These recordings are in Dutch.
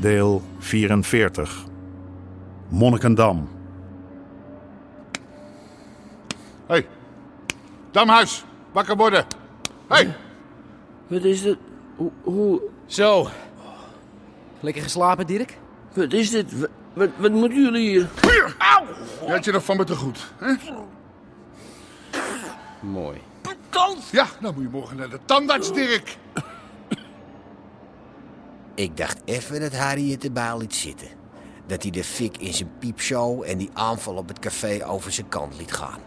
Deel 44. Monnikendam. Hé, hey. Damhuis, wakker worden. Hé, hey. Wat is dit? Hoe, hoe- Zo. Lekker geslapen, Dirk? wat is dit? Wat, wat, wat moeten jullie hier? je had je nog van me te goed. Hè? Mooi. Ja, nou moet je morgen naar de tandarts, Dirk. Ik dacht even dat Harry het erbij liet zitten. Dat hij de fik in zijn piepshow en die aanval op het café over zijn kant liet gaan.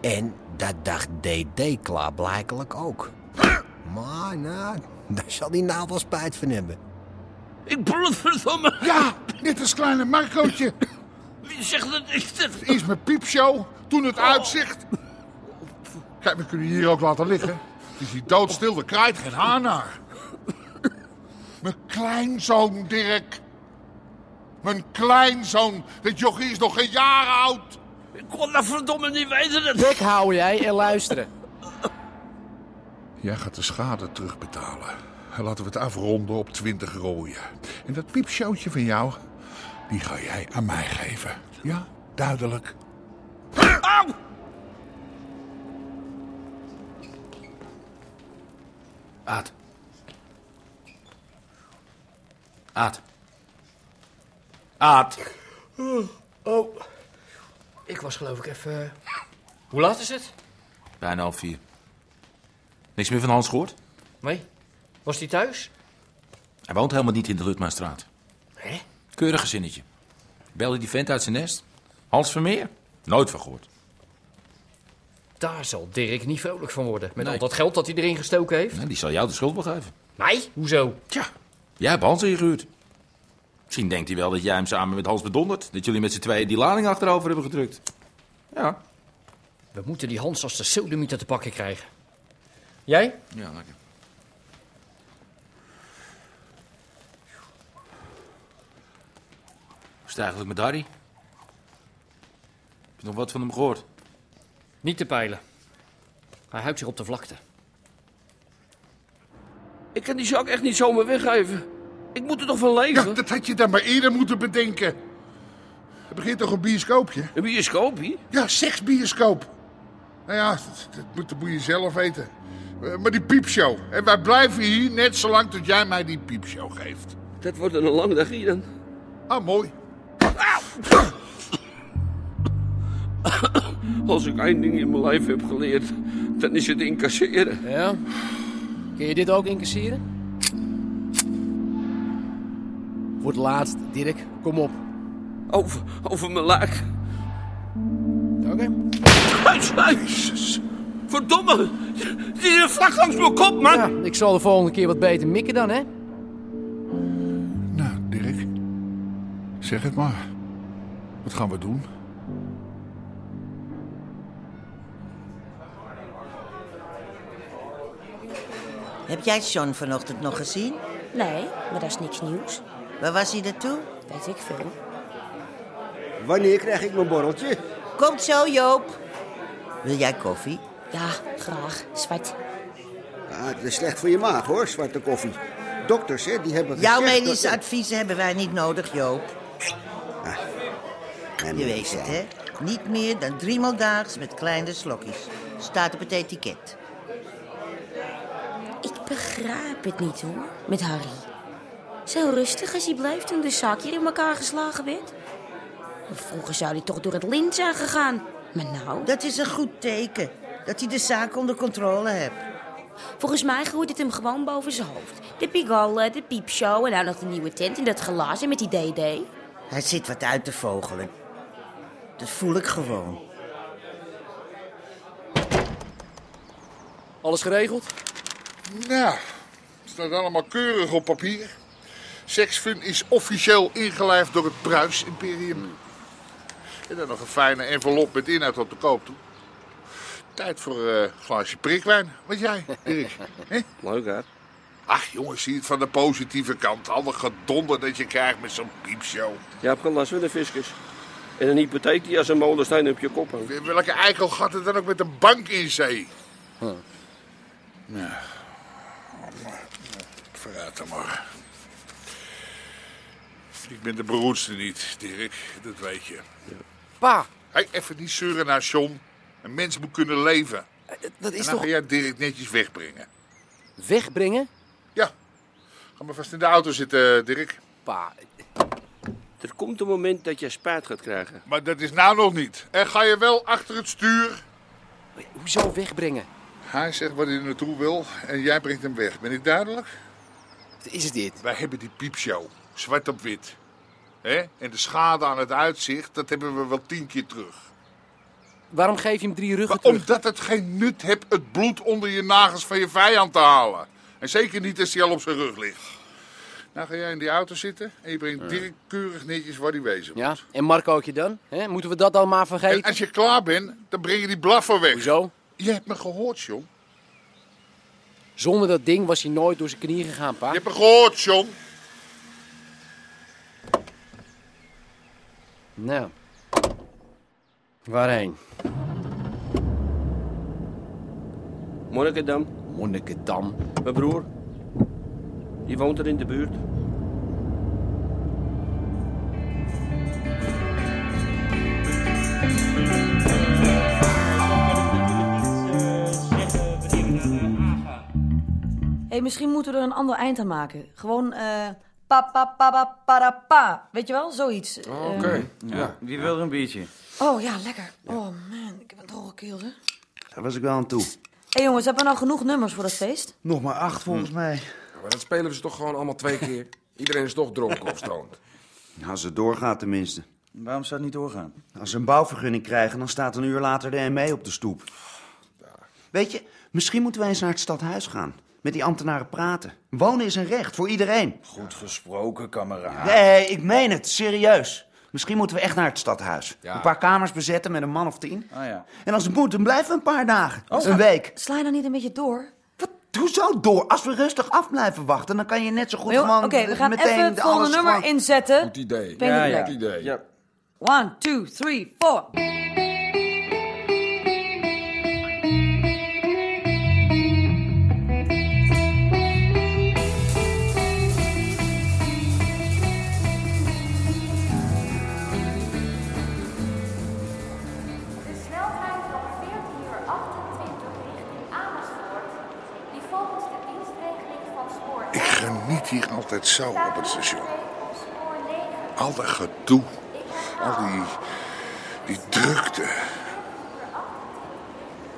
En dat dacht DD klaarblijkelijk ook. Maar nou, daar zal hij nou wel spijt van hebben. Ik broed verdomme. Ja, net als kleine Marcootje. Wie zegt dat ik dit? Eerst mijn piepshow, toen het uitzicht. Kijk, we kunnen je hier ook laten liggen. Het is hier doodstil, er kraait geen haar naar. Mijn kleinzoon, Dirk. Mijn kleinzoon. Dit jochie is nog geen jaar oud. Ik kon dat verdomme niet weten. Dat... Bek houden jij en luisteren. Jij gaat de schade terugbetalen. En Laten we het afronden op 20 rooien. En dat piepshowtje van jou, die ga jij aan mij geven. Ja, duidelijk. Aad. Aad. Aad. Oh. Ik was geloof ik even... Hoe laat is het? Bijna half vier. Niks meer van Hans gehoord? Nee. Was die thuis? Hij woont helemaal niet in de Lutmaanstraat. Hé? Keurig gezinnetje. Belde die vent uit zijn nest? Hans Vermeer? Nooit van gehoord. Daar zal Dirk niet vrolijk van worden. Met Nee. al dat geld dat hij erin gestoken heeft. Nou, die zal jou de schuld wel geven. Nee? Hoezo? Tja, jij hebt Hans ingehuurd. Misschien denkt hij wel dat jij hem samen met Hans bedondert. Dat jullie met z'n tweeën die lading achterover hebben gedrukt. Ja. We moeten die Hans als de sodemieter te pakken krijgen. Jij? Ja, lekker. Hoe is het eigenlijk met Harry? Heb je nog wat van hem gehoord? Niet te peilen. Hij houdt zich op de vlakte. Ik kan die zak echt niet zomaar weggeven. Ik moet er toch van Ja, leven? dat had je dan maar eerder moeten bedenken. Het begint toch een bioscoopje? Een bioscoopie? Ja, seksbioscoop. Nou ja, dat, dat moet, dat moet je zelf weten. Eh, Maar die piepshow. En wij blijven hier net zolang tot jij mij die piepshow geeft. Dat wordt een lang dag hier dan. Ah, mooi. Als ik één ding in mijn lijf heb geleerd, dan is het incasseren. Ja. Kun je dit ook incasseren? Wordt laatst, Dirk. Kom op. Over, over mijn lijk. Oké. Jezus. Verdomme. Die is vlak langs mijn kop, man. Ja, ik zal de volgende keer wat beter mikken dan, hè? Nou, Dirk. Zeg het maar. Wat gaan we doen? Heb jij John vanochtend nog gezien? Nee, maar dat is niks nieuws. Waar was hij naartoe? Weet ik veel. Wanneer krijg ik mijn borreltje? Komt zo, Joop. Wil jij koffie? Ja, graag. Zwart. Ah, het is slecht voor je maag hoor, zwarte koffie. Dokters, hè, die hebben Jouw gezegd medische dat- adviezen hebben wij niet nodig, Joop. Nee, Je maar dat weet het, zijn- hè? Niet meer dan driemaal daags met kleine slokjes. Staat op het etiket. Ik begrijp het niet hoor, met Harry. Zo rustig als hij blijft toen de zaak hier in elkaar geslagen werd. Vroeger zou hij toch door het lint zijn gegaan. Maar nou, Dat is een goed teken. Dat hij de zaak onder controle hebt. volgens mij groeit het hem gewoon boven zijn hoofd. De pigalle, de piepshow en nou nog de nieuwe tent en dat glazen met die DD. Hij zit wat uit te vogelen. Dat voel ik gewoon. Alles geregeld? Nou, staat allemaal keurig op papier. Sexfun is officieel ingelijfd door het Pruis Imperium. En dan nog een fijne envelop met inhoud op de koop toe. Tijd voor eh, een glaasje prikwijn. Wat jij, Erik? Hè? Leuk, hè? Ach jongens, zie het van de positieve kant. Alle gedonder dat je krijgt met zo'n piepshow. Je hebt geen last van de fiscus. En een hypotheek die als een molensteen op je kop hangt. Welke eikel gaat er dan ook met een bank in zee? Huh. Nou, maar, vooruit dan maar. Ik ben de beroerdste niet, Dirk. Dat weet je. Pa! Hey, even niet zeuren naar John. Een mens moet kunnen leven. Dat en is dan toch... ga jij Dirk netjes wegbrengen. Wegbrengen? Ja. Ga maar vast in de auto zitten, eh, Dirk. Pa. Er komt een moment dat je spijt gaat krijgen. Maar dat is nou nog niet. En ga je wel achter het stuur? Hoezo wegbrengen? Hij zegt wat hij er naartoe wil en jij brengt hem weg. Ben ik duidelijk? Wat is dit? Wij hebben die piepshow, zwart op wit. hè? En de schade aan het uitzicht, dat hebben we wel tien keer terug. Waarom geef je hem drie ruggen Maar terug? omdat het geen nut hebt het bloed onder je nagels van je vijand te halen. En zeker niet als hij al op zijn rug ligt. Nou ga jij in die auto zitten en je brengt Dirk keurig netjes waar hij wezen moet. Ja, en Marcootje dan? Hè? Moeten we dat dan maar En vergeten? als je klaar bent, dan breng je die blaffer weg. Hoezo? Je hebt me gehoord, John. Zonder dat ding was hij nooit door zijn knieën gegaan, pa. Je hebt me gehoord, John. Nou. Waarheen? Monnikendam, Monnikendam. mijn broer. Die woont er in de buurt. hey, misschien moeten we er een ander eind aan maken. Gewoon eh pa pa pa pa para, pa. Weet je wel, zoiets. Eh, Ja. Wie wil er een biertje? oh ja, lekker. Oh man, ik heb een droge keel, hè. Daar was ik wel aan toe. hey, jongens, hebben we nou genoeg nummers voor dat feest? Nog maar acht volgens mij. Maar dat spelen ze toch gewoon allemaal twee keer? Iedereen is toch dronken of stoned? Als het doorgaat tenminste. Waarom zou het niet doorgaan? Als ze een bouwvergunning krijgen, dan staat een uur later de ME op de stoep. Weet je, misschien moeten wij eens naar het stadhuis gaan. Met die ambtenaren praten. Wonen is een recht voor iedereen. Goed gesproken, kameraad. Nee, ik meen het. Serieus. Misschien moeten we echt naar het stadhuis. Een paar kamers bezetten met een man of tien. En als het moet, dan blijven we een paar dagen. een week. Sla je dan niet een beetje door? Hoezo door? Als we rustig af blijven wachten, dan kan je net zo goed Maar joh, gewoon Oké, we gaan meteen even het de volgende alles nummer gewoon- inzetten. Goed idee. Ben je Ja, blij? ja. Goed idee. One, two, three, four. De snelheid van 14 uur 28 richting Amersfoort, die volgens de dienstregeling van spoor Ik geniet hier altijd zo op het station. Al dat gedoe. Al die, die drukte.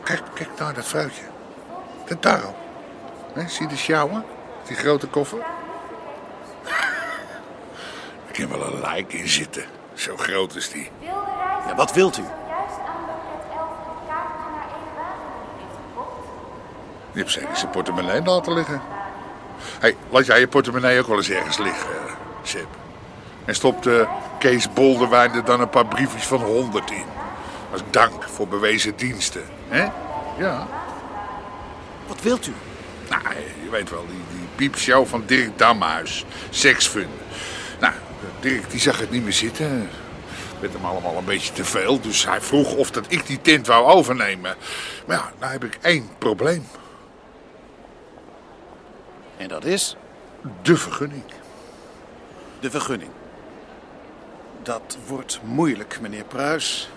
Kijk, kijk naar dat vrouwtje. Dat daarom. Hè, zie je de sjouwen? Die grote koffer? Ik heb wel een lijk in zitten. Zo groot is die. Ja, wat wilt u? juist aan loket 11 een kaartje naar Erewageningen heeft geboekt. Die heeft zeker zijn portemonnee laten liggen. Hé, hey, laat jij je portemonnee ook wel eens ergens liggen, eh, Sip. En stopte Kees Bolderwijn er dan een paar briefjes van 100 in. Als dank voor bewezen diensten. Hè? Ja. Wat wilt u? Nou, je weet wel, die, die piepshow van Dirk Damhuis. Seksfun. Nou, Dirk die zag het niet meer zitten. Met hem allemaal een beetje te veel. Dus hij vroeg of dat ik die tent wou overnemen. Maar ja, nou heb ik één probleem. En dat is? De vergunning. De vergunning. Dat wordt moeilijk, meneer Pruis.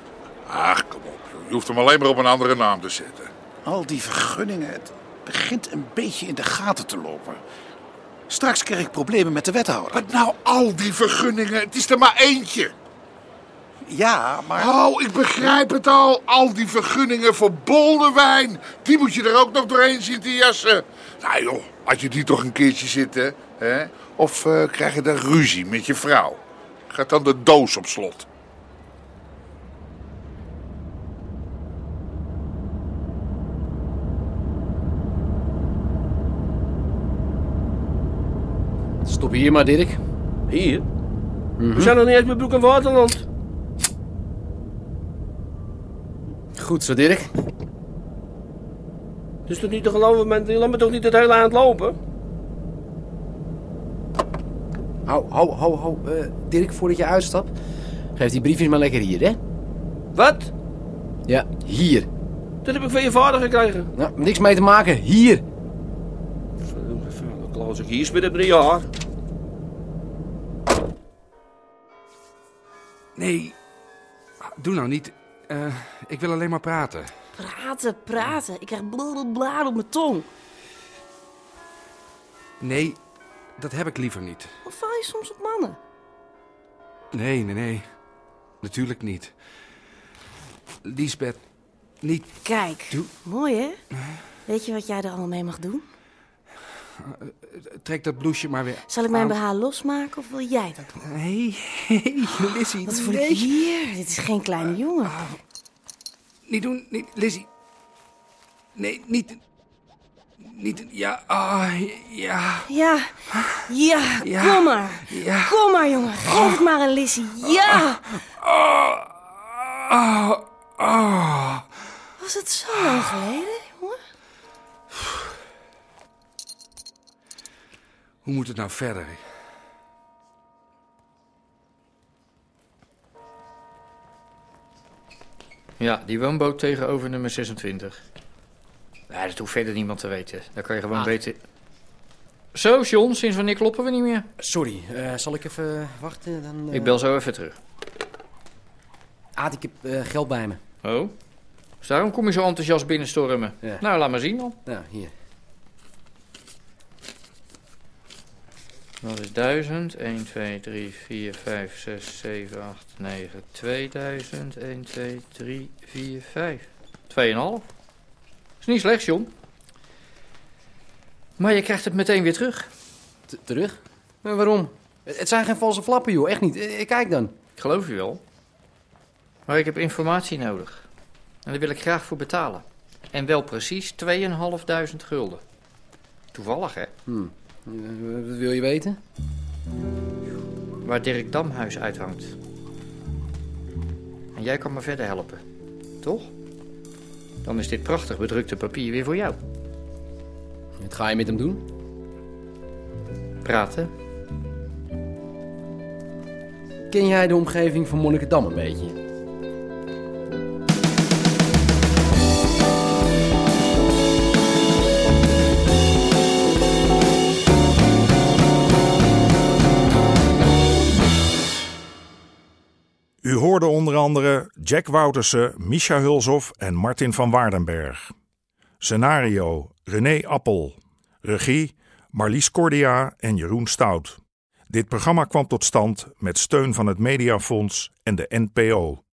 Ach, kom op. joh. Je hoeft hem alleen maar op een andere naam te zetten. Al die vergunningen, het begint een beetje in de gaten te lopen. Straks krijg ik problemen met de wethouder. Wat nou al die vergunningen? Het is er maar eentje. Ja, maar... Oh, ik begrijp het al. Al die vergunningen voor Boldewijn. Die moet je er ook nog doorheen zien te jassen. Nou joh, had je die toch een keertje zitten, hè? Of eh, krijg je daar ruzie met je vrouw? Gaat dan de doos op slot. Stop hier maar, Dirk. Hier? We zijn nog niet eens bij Broek en Waterland. Goed zo, Dirk. Dus toch niet te geloven, man. Die laat me toch niet het hele eind lopen? Hou, hou, hou, hou. eh, Dirk, voordat je uitstapt, geef die briefjes maar lekker hier, hè? Wat? Ja, hier. Dat heb ik van je vader gekregen. Nou, niks mee te maken. Hier. Dan kloos ik hier binnen drie jaar. Nee, doe nou niet. Eh, ik wil alleen maar praten. Praten, praten. Ik krijg blablabla op mijn tong. Nee, dat heb ik liever niet. Of val je soms op mannen? Nee, nee, nee. Natuurlijk niet. Liesbeth, niet. Kijk, Doe- mooi hè? Weet je wat jij er allemaal mee mag doen? Trek dat bloesje maar weer. Zal ik mijn aan. BH losmaken of wil jij dat doen? Nee, hey, Lizzie. Wat voor nee. hier? Oh. Dit is geen kleine jongen. Niet doen, niet, Lizzie. Nee, niet. Niet. Ja, ah, ja. Ja, ja, kom maar. Kom maar, jongen. Geef het maar aan Lizzie. Ja! Oh. Ah, ah. Was het zo lang geleden, jongen? Hoe moet het nou verder? Ja, die woonboot tegenover nummer 26. Ja, dat hoeft verder niemand te weten. Daar kan je gewoon Ah. weten... Zo, John, sinds wanneer kloppen we niet meer? Sorry, eh, zal ik even wachten? Dan, eh, Ik bel zo even terug. Aad, ik heb eh, geld bij me. Oh? Dus daarom kom je zo enthousiast binnenstormen. Nou, laat maar zien dan. Nou, hier. Dat is 1000. 1, 2, 3, 4, 5, 6, 7, 8, 9, 2000. 1, 2, 3, 4, 5. 2,5. Is niet slecht, John. Maar je krijgt het meteen weer terug. terug? Eh, waarom? Het het zijn geen valse flappen, joh. Echt niet. Eh, eh, kijk dan. Ik geloof je wel. Maar ik heb informatie nodig. En daar wil ik graag voor betalen. En wel precies 2.500 gulden. Toevallig, hè? Hm. Eh, wat wil je weten? Waar Dirk Damhuis uithangt. En jij kan me verder helpen. Toch? Dan is dit prachtig bedrukte papier weer voor jou. Wat ga je met hem doen? Praten. Ken jij de omgeving van Monnikendam een beetje? U hoorde onder andere Jack Woutersen, Misha Hulshoff en Martin van Waardenberg. Scenario René Appel. Regie Marlies Cordia en Jeroen Stout. Dit programma kwam tot stand met steun van het Mediafonds en de NPO.